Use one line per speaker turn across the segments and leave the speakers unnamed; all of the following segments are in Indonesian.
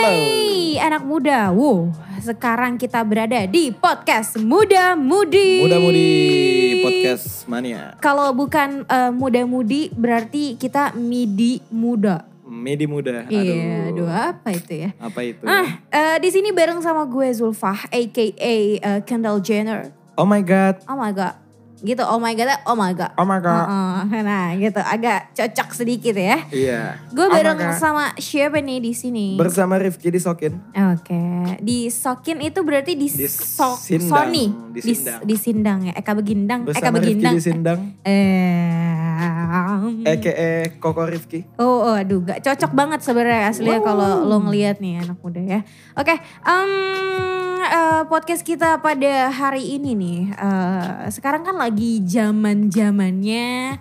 Hai anak muda, wow sekarang kita berada di podcast Muda Mudi.
Muda-mudi podcast mania.
Kalau bukan eh, Muda Mudi berarti kita midi muda.
Medi muda. Aduh.
Iya, aduh apa itu ya?
Apa itu?
Ah, eh, di sini bareng sama gue Zulfah, aka eh, Kendall Jenner.
Oh my god.
Oh my god, gitu. Oh my god, oh my god.
Oh my god.
Heeh, nah gitu, agak cocok sedikit ya.
Iya.
Gue
Oh my
bareng
God.
sama siapa nih di sini?
bersama Rifki di Sokin.
Oke, di sokin itu berarti di, so-
Disindang,
Sony,
disindang.
Di, disindang ya, Eka Begindang, Eka
Bersama Rifki
Begindang.
di Sindang.
Eh,
EKE Koko Rifki.
oh, oh, aduh, gak cocok banget sebenarnya aslinya kalau lo ngeliat nih anak muda ya. Oke, em, eh, podcast kita pada hari ini nih, eh, sekarang kan lagi zaman zamannya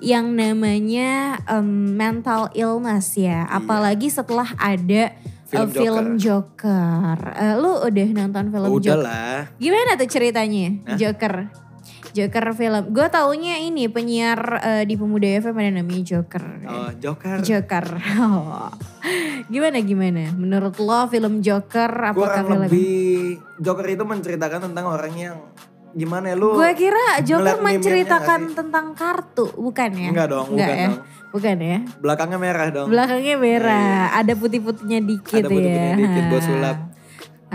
yang namanya em, mental illness ya, apalagi setelah ada
Iya. Film
eh, film Joker. Eh, lu udah nonton film
Udah
Joker?
lah.
Gimana tuh ceritanya
Hah?
Joker? Joker film. Gue taunya ini penyiar eh, di Pemuda FM ada namanya Joker.
Oh, Joker.
Joker. Oh. Gimana gimana? Menurut lo film Joker apakah film?
Kurang lebih Joker itu menceritakan tentang orang yang gimana ya lu?
Gue kira
ngeliat
Joker
meme-nya nggak
menceritakan
sih?
tentang kartu, bukan ya?
Enggak dong,
Nggak
bukan
ya?
dong.
Bukan ya?
Belakangnya merah dong.
Belakangnya merah, ada putih-putihnya dikit
Ada
ya.
putih-putihnya dikit, gua sulap. Ya.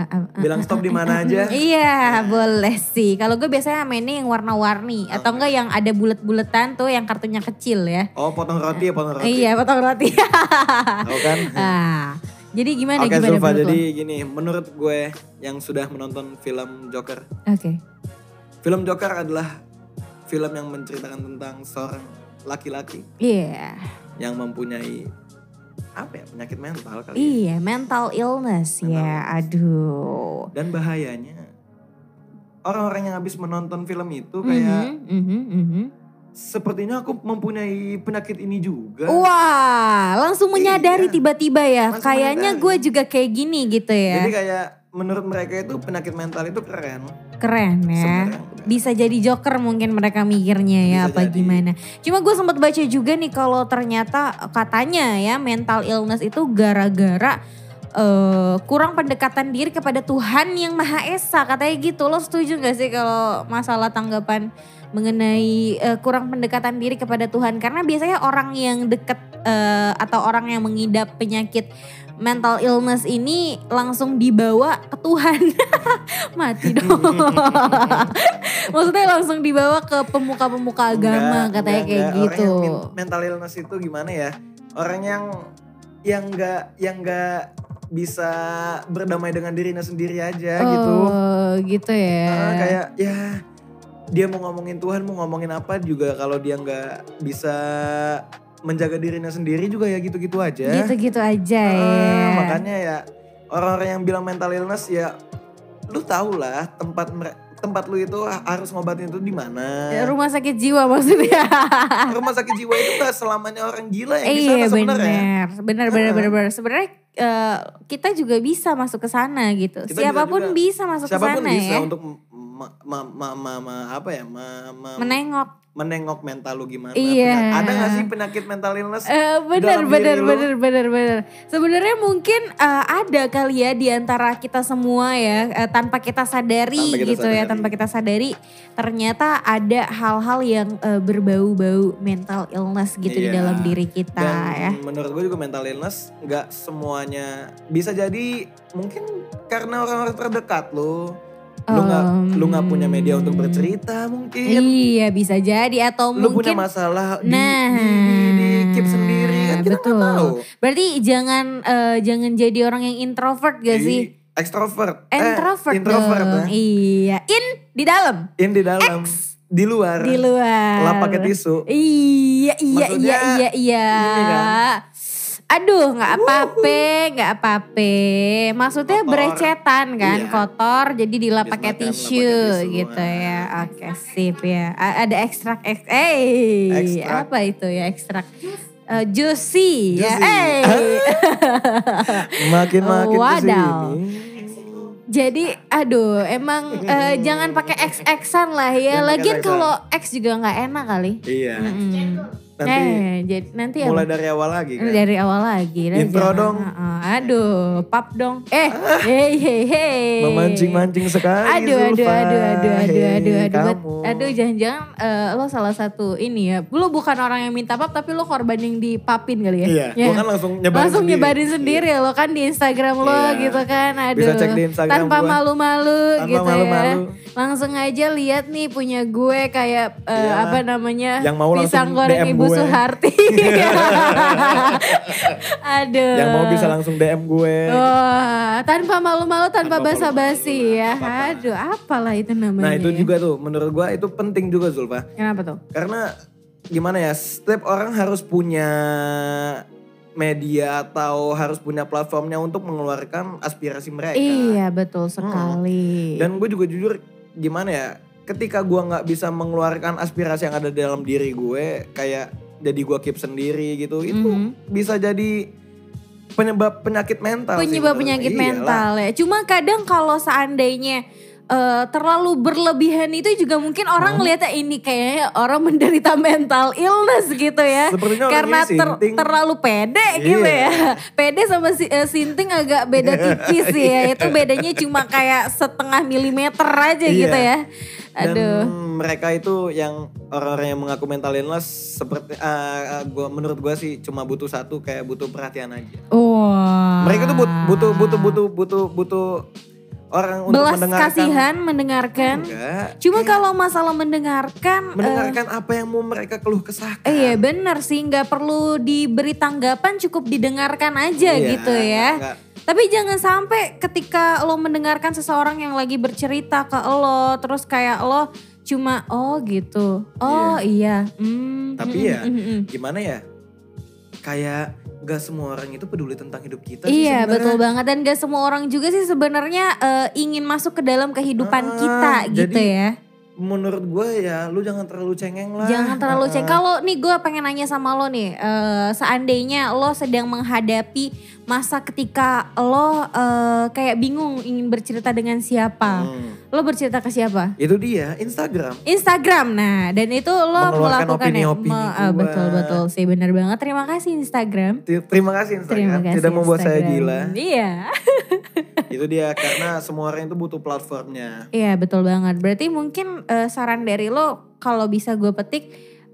Ah, ah, ah.
Bilang stop di mana aja.
Iya boleh sih. Kalau gue biasanya mainnya yang warna-warni atau enggak yang ada bulat-bulatan tuh yang kartunya kecil ya.
Oh, potong roti ya, potong roti.
Iya potong roti.
Tahu kan?
ah, jadi gimana
Oke
gimana
Zulfa,
menurut lo?
jadi gini, menurut gue yang sudah menonton film Joker,
Oke.
film Joker adalah film yang menceritakan tentang seorang laki-laki
Iya.
yang mempunyai apa ya penyakit mental kali ya.
Iya mental illness
Mental
ya.
illness.
Aduh.
Dan bahayanya orang-orang yang habis menonton film itu kayak
Mhm, mhm, mhm.
sepertinya aku mempunyai penyakit ini juga.
Oh, Wah, langsung menyadari
Iya.
tiba-tiba ya.
Langsung
Kayaknya gue
menyadari.
juga kayak gini gitu ya.
Jadi kayak menurut mereka itu penyakit mental itu keren.
Keren ya.
Sebenarnya
bisa jadi joker mungkin mereka mikirnya ya
Bisa
apa
jadi.
gimana. Cuma gue sempat baca juga nih kalau ternyata katanya ya mental illness itu gara-gara eh, kurang pendekatan diri kepada Tuhan yang Maha Esa katanya gitu. Lo setuju gak sih kalau masalah tanggapan mengenai eh, kurang pendekatan diri kepada Tuhan? Karena biasanya orang yang deket eh, atau orang yang mengidap penyakit mental illness ini langsung dibawa ke Tuhan. Mati dong. Maksudnya langsung dibawa ke pemuka-pemuka agama
Enggak,
katanya
enggak,
kayak
enggak.
gitu.
Orang yang men- mental illness itu gimana ya? Orang yang yang enggak yang enggak bisa berdamai dengan dirinya sendiri aja gitu.
Oh, gitu ya.
Ah, kayak ya dia mau ngomongin Tuhan, mau ngomongin apa juga kalau dia enggak bisa menjaga dirinya sendiri juga ya gitu-gitu aja.
Gitu-gitu aja
Ah,
ya.
Makanya ya orang-orang yang bilang mental illness ya lu tau lah tempat mere- tempat lu itu harus ngobatin itu di mana.
Ya, Rumah sakit jiwa maksudnya.
rumah sakit jiwa itu gak selamanya orang gila yang di sana
iya
gitu sebenarnya. Ah.
benar. Benar benar
Heeh.
benar benar. Sebenarnya eh, kita juga bisa masuk ke sana gitu.
Kita
Siapapun
juga-
bisa masuk ke
Siapapun
sana
bisa
ya.
untuk ma- ma- ma- ma- ma- apa ya ma- ma-
Menengok.
menengok mental lu gimana.
Iya.
Penyakit- Ada gak sih penyakit mental illness?
Eh, benar
dalam
benar
diri lu.
benar benar benar. Sebenarnya mungkin eh, ada kali ya di antara kita semua ya eh, tanpa kita sadari
Tanpa kita
gitu ya,
sadari.
tanpa kita sadari ternyata ada hal-hal yang eh, berbau-bau mental illness gitu di
Iya.
dalam diri kita
Dan
ya.
menurut gue juga mental illness nggak semuanya bisa jadi mungkin karena orang-orang terdekat lu. Lu nggak lu nggak punya media untuk bercerita mungkin.
Iya, bisa jadi atau
Lu punya
mungkin
masalah di,
Nah.
di, di, di keep sendiri kan kita nggak
Betul.
tahu.
berarti jangan eh, jangan jadi orang yang introvert gak
Jadi
Iya sih?
Extrovert. Eh,
Introvert,
introvert
dong.
ya.
Iya, in di dalam.
Yang di dalam, di luar,
di luar.
lap pakai tisu.
Iya, iya,
Maksudnya,
iya, iya,
ini
iya.
kan.
Aduh, nggak apa-apa, nggak apa-apa. Maksudnya
Kotor.
berecetan kan,
Iya.
kotor, jadi dilap
Habis
pakai
makan, lap pakai
tisu
tisu.
gitu ya.
Ah.
Oke, sip ya. A- ada ekstrak, ek- eh,
Ekstrak.
apa itu ya ekstrak? Eh, juicy, ya,
Juicy.
eh.
Makin makin ke
Wadaw.
sini.
Jadi aduh emang eh, jangan pakai X-Xan lah ya.
Jangan pakai
Lagian
X-Xan.
kalau X juga nggak enak kali.
Iya.
Mm-mm.
Nanti
eh, jadi nanti apa?
mulai dari awal lagi kan.
dari awal lagi. lah,
Intro
jangan.
dong.
Heeh, aduh, pap dong. Eh, hey hey hey.
Memancing-mancing sekali
Aduh, aduh, aduh,
Zulfa.
aduh, aduh,
Hei,
aduh, aduh, buat-
kamu.
aduh, jangan-jangan eh, lo salah satu ini ya. Lo bukan orang yang minta pap, tapi lo korban yang dipapin kali ya.
Iya,
Ya.
gua kan langsung nyebarin
langsung
sendiri.
nyebarin sendiri ya lo kan di Instagram lo
Iya.
gitu kan. Aduh,
Bisa cek di Instagram
tanpa
gua.
malu-malu
Tanpa
gitu
malu-malu.
ya. Langsung aja lihat nih punya gue kayak eh,
Iyalah.
apa namanya
Iya. Yang mau langsung
pisang goreng
DM
ibu
gue.
Suharti. Aduh.
Yang mau bisa langsung DM gue.
Oh, Wah, tanpa malu-malu, tanpa,
Tanpa
basa-basi
malu-malu,
ya.
apa-apa.
Aduh, apalah itu namanya.
Nah itu
ya.
juga tuh menurut gue itu penting juga Zulfa.
Kenapa tuh?
Karena gimana ya setiap orang harus punya media atau harus punya platformnya untuk mengeluarkan aspirasi mereka.
Iya, betul sekali.
Hmm. Dan gue juga jujur gimana ya ketika gue nggak bisa mengeluarkan aspirasi yang ada dalam diri gue kayak jadi gue keep sendiri gitu itu
Mhm.
bisa jadi penyebab penyakit mental. sih Iya
penyebab
menurut
penyakit
gue. Iyalah.
mental ya. Cuma kadang kalau seandainya eh, terlalu berlebihan itu juga mungkin
Hmm.
orang ngeliatnya ini kayaknya orang menderita mental illness gitu ya.
Sepertinya orang
Karena
ini
ter-
sinting.
terlalu pede gitu
Iya.
ya. Pede sama si, eh, sinting agak beda tipis
Iya.
ya. Itu bedanya cuma kayak setengah milimeter aja
Iya.
gitu ya.
Dan
Aduh.
mereka itu yang orang-orang yang mengaku mental illness seperti eh, eh, gua menurut gua sih cuma butuh satu kayak butuh perhatian aja.
Wah.
Mereka
Ah.
tuh but- butuh butuh butuh butuh butuh orang untuk
belas
mendengarkan. Iya.
kasihan mendengarkan.
Enggak.
Cuma
Kayak
kalau masalah mendengarkan, eh,
mendengarkan apa yang mau mereka keluh kesahkan.
Eh, Iya bener sih nggak perlu diberi tanggapan cukup didengarkan aja
Iya,
gitu ya.
enggak.
Tapi jangan sampai ketika lo mendengarkan seseorang yang lagi bercerita ke lo terus kayak lo cuma oh gitu. Oh iya. Hmm,
Tapi
hmm,
ya,
hmm, hmm, hmm.
Gimana ya? Kayak gak semua orang itu peduli tentang hidup kita sih
Iya
sebenarnya.
betul banget dan gak semua orang juga sih sebenarnya eh, ingin masuk ke dalam kehidupan
Ah,
kita
jadi
gitu ya.
Menurut gue ya lu jangan terlalu cengeng lah.
Jangan terlalu ceng.
Heeh.
Kalau nih gue pengen nanya sama lo nih, eh, seandainya lo sedang menghadapi masa ketika lo eh, kayak bingung ingin bercerita dengan siapa,
Hmm.
lo bercerita ke siapa?
Itu dia Instagram.
Instagram, nah dan itu lo
Mengeluarkan
melakukan ya? eh,
opini-opini gua.
betul betul sih benar banget. Terima kasih Instagram.
Ti- Terima kasih
Terima
Instagram.
kasih.
Tidak membuat saya
Instagram.
gila.
Iya,
itu dia karena semua orang itu butuh platformnya.
iya betul banget. Berarti mungkin eh, saran dari lo kalau bisa gue petik,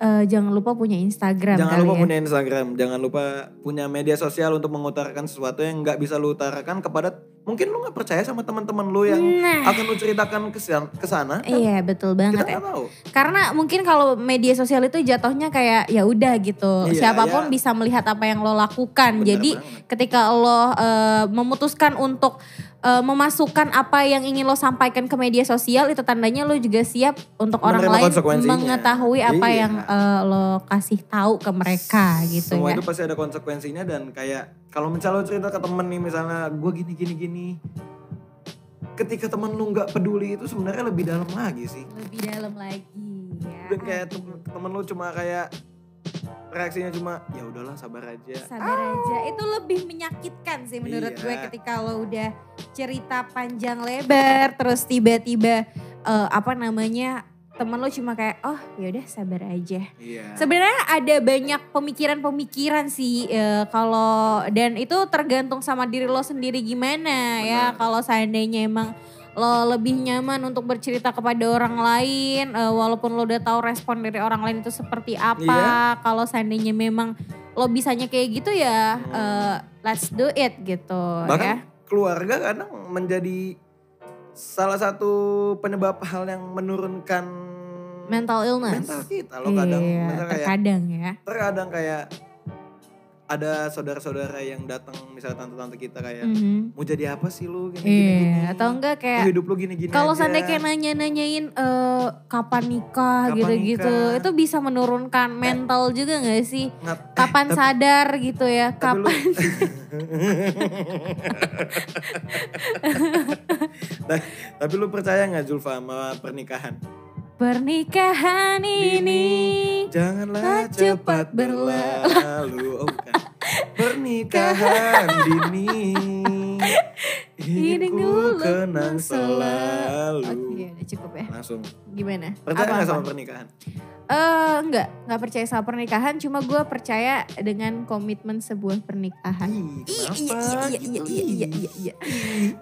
eh, jangan lupa punya Instagram.
jangan
kali
lupa
ya.
punya Instagram, jangan lupa punya media sosial untuk mengutarakan sesuatu yang nggak bisa lu utarakan kepada mungkin lu nggak percaya sama teman-teman lu yang
Nah.
akan lu ceritakan ke sana. Ke sana kan
Iya betul
kita
banget.
nggak tahu.
Karena mungkin kalau media sosial itu jatuhnya kayak ya udah gitu.
Iya,
Siapapun
ya.
bisa melihat apa yang lo lakukan.
Bener
Jadi
banget.
ketika lo eh, memutuskan untuk eh, memasukkan apa yang ingin lo sampaikan ke media sosial itu tandanya lo juga siap untuk orang
Menerima
lain
konsekuensinya.
mengetahui apa
Iya.
yang eh, lo kasih tahu ke mereka gitu
Semua
ya.
itu pasti ada konsekuensinya dan kayak kalau misalnya lu cerita ke temen nih misalnya gue gini gini gini. Ketika temen lu nggak peduli itu sebenarnya lebih dalam lagi sih.
Lebih dalam lagi ya.
Dan kayak temen, temen lu cuma kayak reaksinya cuma ya udahlah sabar aja.
Sabar aja, itu lebih menyakitkan sih menurut
Iya.
gue ketika lo udah cerita panjang lebar, terus tiba-tiba eh, apa namanya temen lo cuma kayak oh yaudah sabar aja.
Iya.
Sebenarnya ada banyak pemikiran-pemikiran sih eh, kalau dan itu tergantung sama diri lo sendiri gimana ya
Benar.
kalau seandainya emang lo lebih nyaman untuk bercerita kepada orang lain eh, walaupun lo udah tahu respon dari orang lain itu seperti
Iya.
apa kalau seandainya memang lo bisanya kayak gitu ya
Hmm.
eh, let's do it gitu ya.
Bahkan keluarga kadang menjadi salah satu penyebab hal yang menurunkan
mental illness.
mental kita loh kadang.
Iya,
Misalnya kayak Iya.
terkadang ya.
terkadang kayak ada saudara-saudara yang datang misalnya tante-tante kita kayak
Mhm.
mau jadi apa sih lu gini gini,
Iya,
gini.
atau enggak kayak
Lu hidup lu gini gini
Kalau
aja.
seandainya kayak nanya-nanyain eh, kapan nikah
iya. Kapan
gitu-gitu,
nikah?
itu bisa menurunkan mental juga gak sih?
Ngat- eh,
Kapan
tapi-
sadar gitu ya?
tapi lu-
Kapan?
Nah, tapi lu percaya nggak Zulfa sama pernikahan?
Pernikahan ini.
Janganlah
Tak Nah, cepat
cepat
berla-
berlalu. Oh, bukan. Pernikahan dini.
Ini
Hidupku
dulu
kenang
selalu.
selalu.
Oke, udah cukup ya.
Nah, langsung.
Gimana?
Percaya nggak
Apa-apa?
sama pernikahan?
Eh, enggak, enggak percaya sama pernikahan, cuma gue percaya dengan komitmen sebuah pernikahan.
Ih,
Ih,
kenapa
iya, iya, iya,
gitu?
iya, iya, iya, iya.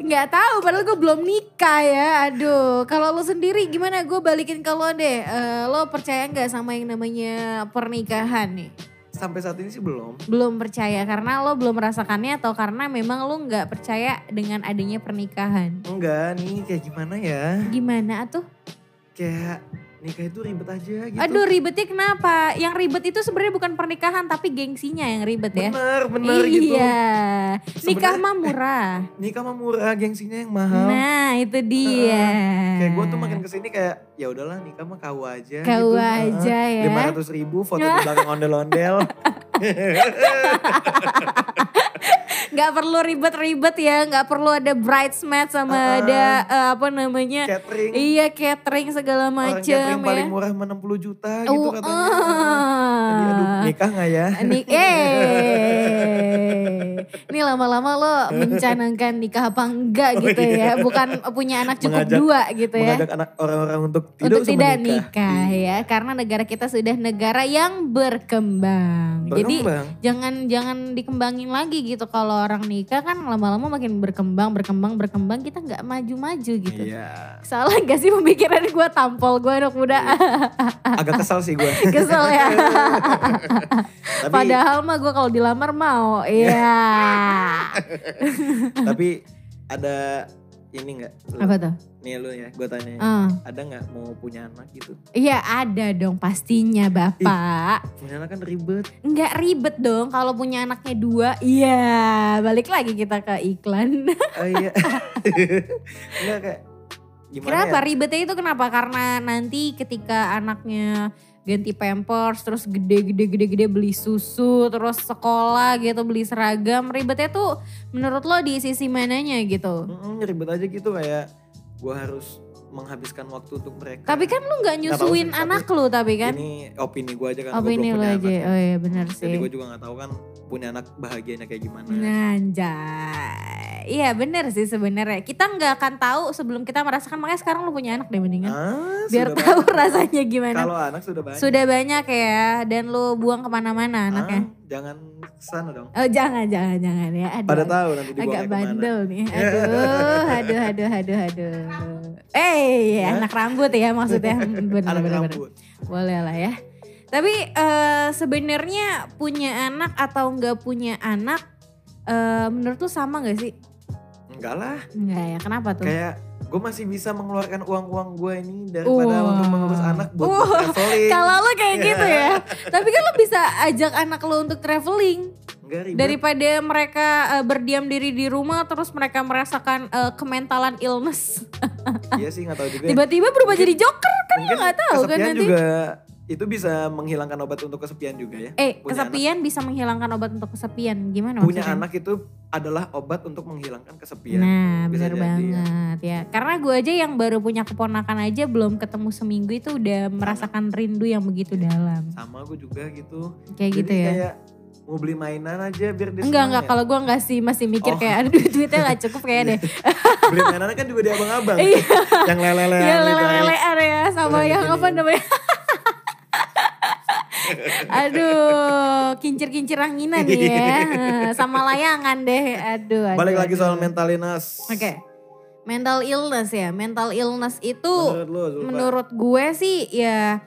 Nggak tahu, padahal gue belum nikah ya. Aduh, kalau lo sendiri gimana? Gue balikin ke lo deh. Eh, lo percaya nggak sama yang namanya pernikahan nih?
Sampai saat ini sih belum.
Belum percaya karena lo belum merasakannya atau karena memang lo nggak percaya dengan adanya pernikahan?
Enggak nih, kayak gimana ya?
Gimana tuh?
Kayak nikah itu ribet aja gitu.
Aduh ribetnya kenapa? Yang ribet itu sebenarnya bukan pernikahan tapi gengsinya yang ribet ya.
Bener, bener
iya.
gitu.
Nikah
Sebenarnya-
mah murah.
Nikah mah murah, gengsinya yang mahal.
Nah, itu dia.
Kayak gue tuh makin kesini kayak ya udahlah nikah mah kau aja.
Kau
gitu.
aja ya.
Lima ratus ribu foto di belakang ondel-ondel.
Gak perlu ribet-ribet ya, gak perlu ada bridesmaid sama
Heeh.
ada eh, apa namanya?
catering.
Iya, catering segala
Orang
macem
catering
ya.
paling murah mah 60 juta gitu
Oh,
katanya.
eh.
Jadi aduh nikah gak ya?
Ni- eh. Ini lama-lama lo mencanangkan nikah apa enggak
Oh,
gitu ya.
iya.
Bukan punya anak cukup
Mengajak-
dua gitu ya.
Mengajak anak orang-orang untuk tidak
untuk
usah
tidak
menikah.
nikah,
Iya.
ya karena negara kita sudah negara yang berkembang. Jadi
Berkembang.
jangan jangan dikembangin lagi gitu kalau orang nikah kan lama-lama makin berkembang berkembang berkembang kita nggak maju-maju gitu.
Iya.
Salah gak sih pemikiran gue tampol gue anak muda
Iya. Agak kesal sih gue.
kesel ya.
tapi
Padahal mah gue kalau dilamar mau, iya.
tapi ada ini nggak? Lu-
Apa tuh?
Nih lu ya, gue tanya. ya.
Eh,
Ada nggak mau punya anak gitu?
Iya ada dong pastinya bapak.
Punya anak kan ribet.
nggak ribet dong kalau punya anaknya dua. Iya, balik lagi kita ke iklan.
Oh iya. Enggak kayak gimana
kenapa
ya?
ribetnya itu kenapa? Karena nanti ketika anaknya ganti pampers, terus gede-gede-gede-gede beli susu, terus sekolah gitu beli seragam, ribetnya tuh menurut lo di sisi mananya gitu?
Mm-mm, ribet aja gitu kayak gue harus menghabiskan waktu untuk mereka.
Tapi kan lo nggak
Nggak tahu sih,
nyusuin
tapi
anak lo tapi kan?
Ini opini gue aja kan
Apa ini lo aja? Oh iya benar
Jadi
sih.
gue juga nggak tahu kan punya anak bahagianya kayak gimana.
Anjay. Iya benar sih sebenarnya. Kita nggak akan tahu sebelum kita merasakan. Makanya sekarang lo punya anak deh mendingan.
Ah,
biar
sudah
tahu
banyak.
rasanya gimana.
Kalau anak sudah banyak.
Sudah banyak ya dan lu buang kemana-mana
Ah,
anaknya.
jangan kesana dong.
Oh jangan jangan jangan ya. Aduh,
Pada
ag-
tahu nanti dibuangnya
agak
kemana.
bandel nih. Aduh, aduh, aduh, aduh, aduh. Eh,
Ya.
anak rambut ya maksudnya. Hmm, Bener,
Anak
bener, bener.
rambut.
Boleh lah ya. Tapi eh, sebenarnya punya anak atau nggak punya anak eh, menurut tuh sama nggak sih?
Enggak lah.
Enggak ya, kenapa tuh?
Kayak gue masih bisa mengeluarkan uang-uang gue ini daripada
Wah.
untuk mengurus anak buat gua
Wah,
traveling.
Kalau lo kayak gitu ya. Tapi kan lo bisa ajak anak lo untuk traveling.
Enggak ribet.
daripada mereka eh, berdiam diri di rumah terus mereka merasakan eh, kementalan illness
Iya sih nggak tahu juga.
tiba-tiba berubah jadi joker kan lo
Mungkin
Kan nggak tahu kan
kesepian
nanti
juga itu bisa menghilangkan obat untuk kesepian juga ya.
eh
punya
kesepian bisa menghilangkan obat untuk kesepian gimana
Punya
maksudnya?
anak itu adalah obat untuk menghilangkan kesepian.
Nah bener
bisa jadi, iya.
banget ya Karena gue aja yang baru punya keponakan aja Belum ketemu seminggu itu udah merasakan rindu yang begitu dalam
Sama gue juga gitu.
Kayak
Iya. Jadi
gitu ya
kayak mau beli mainan aja biar dia
Enggak
senang
enggak
ya.
kalau gue enggak sih masih mikir
Oh.
kayak aduh duitnya gak cukup kayak deh
beli mainannya kan juga di abang-abang.
Iya.
yang lele-lele. gitu kan.
Iya lele-lelean ya sama
Lele
yang
gini.
apa namanya. aduh, kincir-kincir anginan nih ya. Sama layangan deh. Aduh, aduh.
Balik lagi
aduh.
soal mentalitas.
Oke. Mental illness ya. Mental illness itu
Menurut lu, Zulfa?
menurut gue sih ya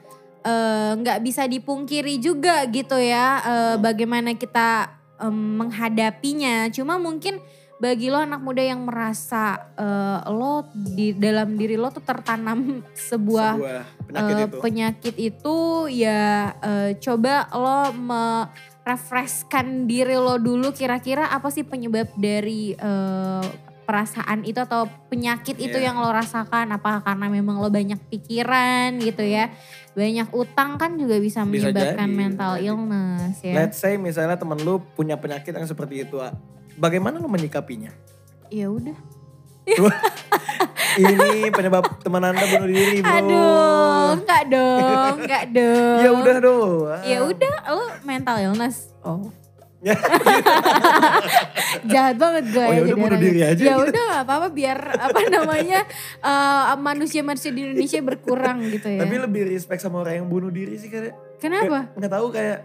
eh, nggak bisa dipungkiri juga gitu ya eh, bagaimana kita em, menghadapinya. Cuma mungkin bagi lo anak muda yang merasa eh, lo di dalam diri lo tuh tertanam sebuah
sebuah penyakit
eh,
itu.
penyakit itu ya eh, coba lo merefreshkan diri lo dulu kira-kira apa sih penyebab dari eh, perasaan itu atau penyakit itu
Iya.
yang lo rasakan apa karena memang lo banyak pikiran gitu ya banyak utang kan juga bisa
Bisa
menyebabkan
jadi,
mental
jadi.
illness ya
Let's say misalnya temen lu punya penyakit yang seperti itu, ah. bagaimana lu menyikapinya?
ya udah
Ini penyebab teman anda bunuh diri bro.
aduh enggak dong enggak dong
Ya udah doang.
ya udah lo mental illness oh Jahat banget gue
Oh,
ya
ya udah,
jadi
bunuh
orangnya.
diri aja
Ya
gitu.
udah gak apa-apa biar apa namanya eh, manusia-manusia di Indonesia berkurang gitu ya.
Tapi lebih respect sama orang yang bunuh diri sih kayak
Kenapa?
nggak tahu kayak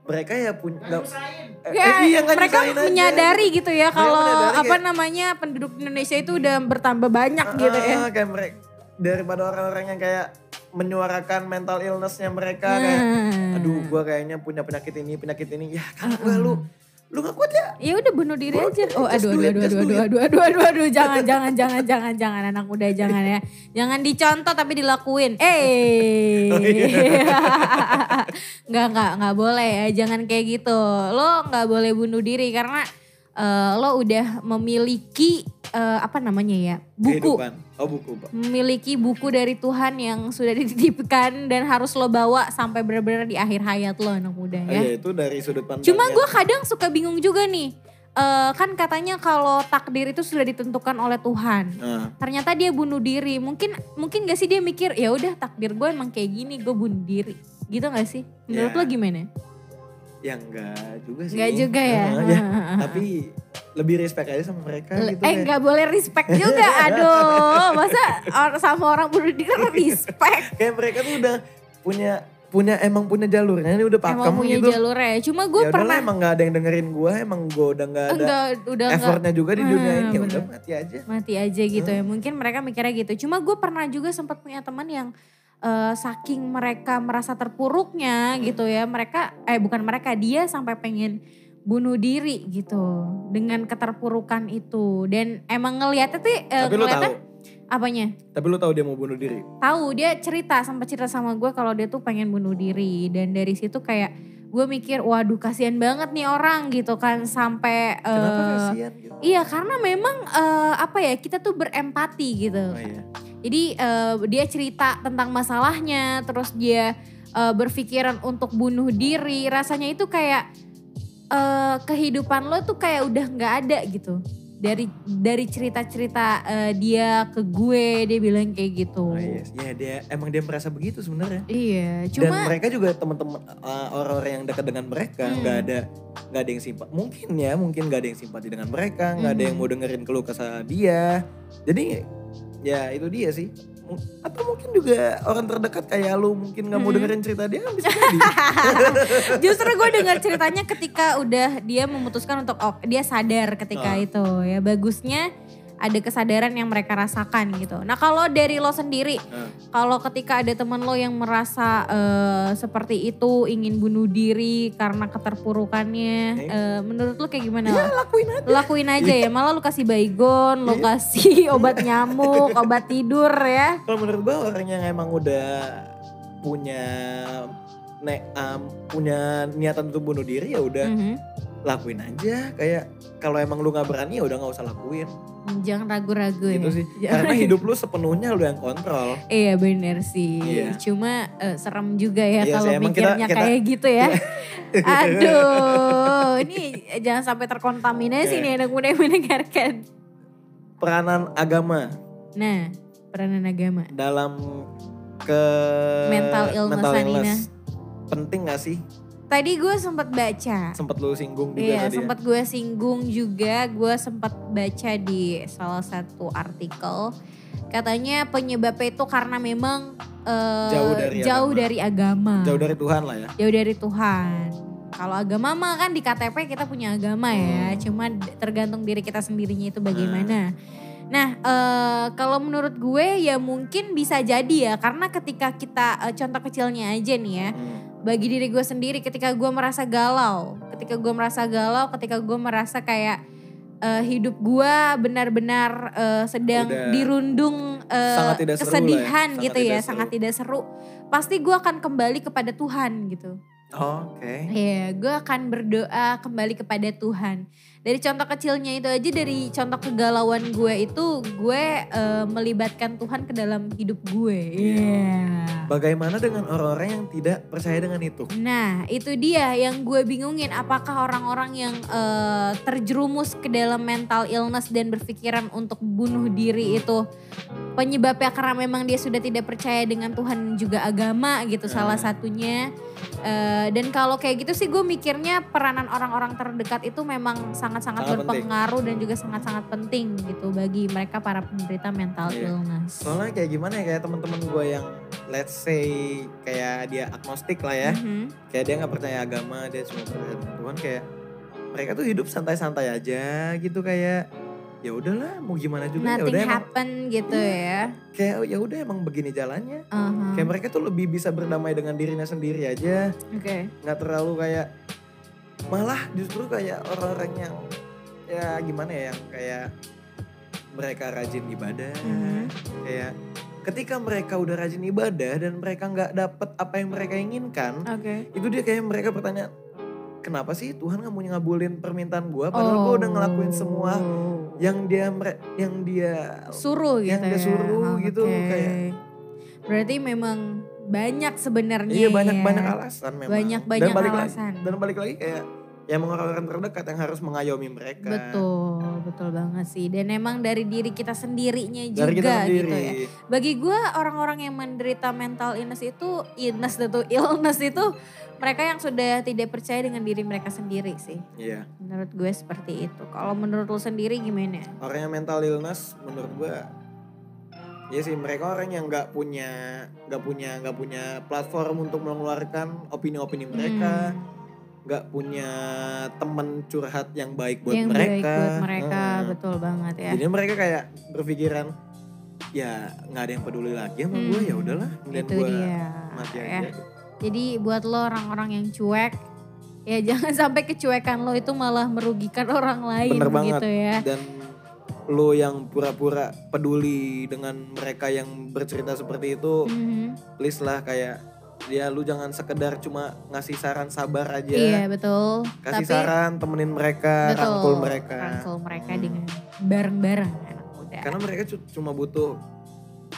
mereka ya punya nggak- eh,
Ya,
eh, iya, nggak
mereka
nyusahin aja.
menyadari gitu ya
Mereka
kalau
menyadari
apa
kayak-
namanya penduduk Indonesia itu udah bertambah banyak
Ah,
gitu ya.
Kayak mereka daripada orang-orang yang kayak menyuarakan mental illnessnya mereka kayak
Hmm. Ah,
aduh gua kayaknya punya penyakit ini penyakit ini ya kan gua lu lu gak kuat ya
Ya udah bunuh diri
Bunuh
aja.
diri,
Oh
just
aduh aduh
do it,
aduh
just
aduh
do it.
aduh aduh aduh aduh jangan jangan jangan jangan jangan anak muda jangan ya. Jangan dicontoh tapi dilakuin. Eh.
Oh, iya.
nggak nggak nggak boleh ya. Jangan kayak gitu. Lo nggak boleh bunuh diri karena eh, lo udah memiliki eh, apa namanya ya? buku
Kehidupan. oh buku Pak.
memiliki buku dari Tuhan yang sudah dititipkan dan harus lo bawa sampai benar-benar di akhir hayat lo anak muda
Ah,
ya.
iya, itu dari sudut pandang
Cuma
yang-
gue kadang suka bingung juga nih. Eh, kan katanya kalau takdir itu sudah ditentukan oleh Tuhan.
Ah,
Ternyata dia bunuh diri. Mungkin mungkin gak sih dia mikir ya udah takdir gue emang kayak gini gue bunuh diri. Gitu gak sih? Menurut
Ya.
lo gimana?
ya enggak juga sih
Gak juga ya.
Ah, ya, tapi lebih respect aja sama mereka
eh
gitu kayak.
nggak boleh respect juga. Aduh, masa or- sama orang bunuh diri lo respect?
kayak mereka tuh udah punya punya emang punya jalurnya ini udah pakem
emang punya
gitu.
jalurnya. Cuma gue
Ya udahlah,
pernah
emang gak ada yang dengerin gue, emang gue udah gak ada
enggak udah enggak
effortnya juga di
Ah,
dunia ini. Ya
bener.
udah mati aja.
mati aja gitu
Hmm.
ya. Mungkin mereka mikirnya gitu. Cuma gue pernah juga sempat punya teman yang eh, saking mereka merasa terpuruknya gitu ya. Mereka eh bukan mereka dia sampai pengen bunuh diri gitu dengan keterpurukan itu. Dan emang ngelihatnya tuh eh,
tapi lu
ngeliatnya
tahu,
apanya?
tapi lu tahu dia mau bunuh diri.
tahu dia cerita sempat cerita sama gue kalau dia tuh pengen bunuh diri dan dari situ kayak gue mikir waduh kasihan banget nih orang gitu kan sampai
Kenapa
eh,
kasihan gitu?
Iya karena memang eh, apa ya kita tuh berempati gitu.
Oh, iya.
Jadi eh, dia cerita tentang masalahnya, terus dia eh, berpikiran untuk bunuh diri. Rasanya itu kayak eh, kehidupan lo tuh kayak udah nggak ada gitu. Dari dari cerita-cerita eh, dia ke gue dia bilang kayak gitu.
Oh, iya. Ya dia emang dia merasa begitu sebenarnya.
Iya,
Dan
cuma
mereka juga teman-teman eh, orang-orang yang dekat dengan mereka
Hmm.
nggak ada nggak ada yang simpati. Mungkin ya, mungkin nggak ada yang simpati dengan mereka, nggak ada
Mhm.
yang mau dengerin keluh kesah dia. Jadi ya itu dia sih. M- Atau mungkin juga orang terdekat kayak lu mungkin nggak mau
Mhm.
dengerin cerita dia bisa jadi.
Justru gue dengar ceritanya ketika udah dia memutuskan untuk oh, dia sadar ketika
Ah.
itu ya bagusnya ada kesadaran yang mereka rasakan gitu. Nah kalau dari lo sendiri,
Ah.
kalau ketika ada teman lo yang merasa eh, seperti itu ingin bunuh diri karena keterpurukannya,
Eh.
eh, menurut lo kayak gimana?
ya lakuin aja. Iya.
Lakuin aja ya, malah lo kasih baygon, lo kasih obat nyamuk, obat tidur ya.
Kalau menurut gue orang yang emang udah punya ne, um, punya niatan untuk bunuh diri ya udah
Mhm.
lakuin aja kayak kalau emang lu nggak berani ya udah nggak usah lakuin
Jangan ragu-ragu ya.
gitu sih
Jangan
karena hidup lu sepenuhnya lu yang kontrol
Iya bener sih.
Iya.
Cuma eh, serem juga ya
Iya
kalau
sih, emang kita-
mikirnya
kita-
kayak gitu ya. Aduh, ini jangan sampai terkontaminasi
Oke.
nih anak muda yang mendengarkan.
peranan agama
Nah, peranan agama.
dalam ke
Mental illness,
penting gak sih
Tadi gue sempat baca.
sempet lu singgung juga
Iya,
tadi ya?
sempat gue singgung juga. Gue sempat baca di salah satu artikel. Katanya penyebabnya itu karena memang eh,
Jauh dari
jauh
agama.
dari agama.
jauh dari Tuhan lah ya
jauh dari Tuhan. Kalau agama mah kan di KTP kita punya agama ya,
Hmm.
cuma d- tergantung diri kita sendirinya itu bagaimana. Nah, eh, kalau menurut gue ya mungkin bisa jadi ya, karena ketika kita eh, contoh kecilnya aja nih ya,
Hmm.
bagi diri gue sendiri ketika gue merasa galau, ketika gue merasa galau, ketika gue merasa kayak eh, hidup gue benar-benar eh, sedang
Udah
dirundung eh,
sangat tidak seru lah ya,
kesedihan
sangat
gitu
tidak
ya,
seru.
sangat tidak seru, pasti gue akan kembali kepada Tuhan gitu.
oke
Iya, gue akan berdoa kembali kepada Tuhan. dari contoh kecilnya itu aja dari contoh kegalauan gue itu gue eh, melibatkan Tuhan ke dalam hidup gue. Iya.
Bagaimana dengan orang-orang yang tidak percaya dengan itu?
Nah, itu dia yang gue bingungin. Apakah orang-orang yang eh, terjerumus ke dalam mental illness dan berpikiran untuk bunuh diri itu penyebabnya karena memang dia sudah tidak percaya dengan Tuhan juga agama gitu
Ya.
salah satunya. Eh, dan kalau kayak gitu sih gue mikirnya peranan orang-orang terdekat itu memang sangat-sangat
Sangat penting.
berpengaruh dan juga sangat-sangat penting gitu bagi mereka para penderita mental
Iya.
illness.
Soalnya kayak gimana ya kayak teman-teman gue yang let's say kayak dia agnostik lah ya.
Mhm.
Kayak dia nggak percaya agama, dia cuma percaya dengan Tuhan kayak mereka tuh hidup santai-santai aja gitu kayak ya udahlah mau gimana juga ya
Nothing
udah emang
happen gitu ya.
kayak ya udah emang begini jalannya.
Aha,
Kayak mereka tuh lebih bisa berdamai dengan dirinya sendiri aja.
Oke.
nggak terlalu kayak malah justru kayak orang-orang yang ya gimana ya yang kayak mereka rajin ibadah
Mhm.
kayak ketika mereka udah rajin ibadah dan mereka nggak dapet apa yang mereka inginkan
Oke.
itu dia kayak mereka bertanya kenapa sih Tuhan nggak mau ngabulin permintaan gua padahal gua udah ngelakuin semua
Oh.
Ya, yang dia mere- yang dia
suruh gitu
yang
ya.
dia
Oh,
suruh gitu,
oke.
kayak-
berarti memang banyak sebenarnya
iya banyak
ya.
banyak alasan memang
banyak
dan
banyak
balik lagi
alasan
dan balik lagi kayak ya emang orang-orang terdekat yang harus mengayomi mereka
betul betul banget sih dan emang dari diri kita sendirinya juga
dari kita sendiri
gitu ya bagi gue orang-orang yang menderita mental illness itu illness itu illness itu mereka yang sudah tidak percaya dengan diri mereka sendiri sih
iya
menurut gue seperti itu kalau menurut lu sendiri gimana
orang yang mental illness menurut gua ya sih mereka orang yang nggak punya nggak punya nggak punya platform untuk mengeluarkan opini-opini mereka
Hmm.
nggak punya temen curhat yang baik buat
yang baik
mereka
buat mereka
Heeh.
betul banget ya
jadi mereka kayak berpikiran ya nggak ada yang peduli lagi sama gua
Hmm.
ya udahlah mending
itu
gua
dia
mati
ya.
aja
Jadi buat lo orang-orang yang cuek, ya jangan sampai kecuekan lo itu malah merugikan orang lain
Bener
gitu ya.
dan lo yang pura-pura peduli dengan mereka yang bercerita seperti itu
Mhm.
please lah kayak ya lu jangan sekedar cuma ngasih saran sabar aja
Iya betul.
kasih
Tapi
saran temenin mereka
betul,
rangkul mereka
rangkul mereka
Hmm.
dengan bareng-bareng anak muda.
karena mereka cu- cuma butuh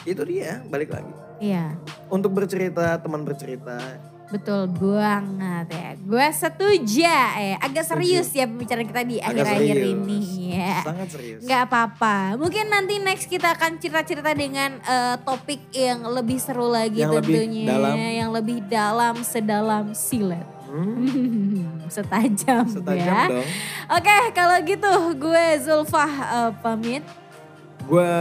itu dia balik lagi
Iya
untuk bercerita teman bercerita
betul banget ya. Gue setuju ya. Agak serius ya pembicaraan kita di
Agak
akhir-akhir
serius.
ini ya.
sangat serius
Gak apa-apa. Mungkin nanti next kita akan cerita-cerita dengan eh, topik yang lebih seru lagi
Yang lebih
tentunya.
dalam.
Yang lebih dalam, sedalam silet.
Hmm,
Setajam,
setajam
ya.
dong
Oke kalau gitu gue Zulfah eh, pamit.
gue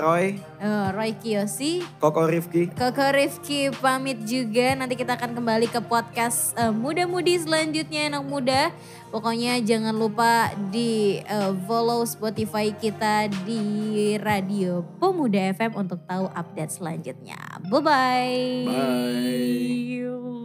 Roy
Eh, Roy Kiyoshi.
Koko Rifki
Koko Rifki pamit juga. Nanti kita akan kembali ke podcast eh, muda-mudi selanjutnya anak muda. Pokoknya jangan lupa di eh, follow Spotify kita di Radio Pemuda FM untuk tahu update selanjutnya. Bye-bye.
Bye.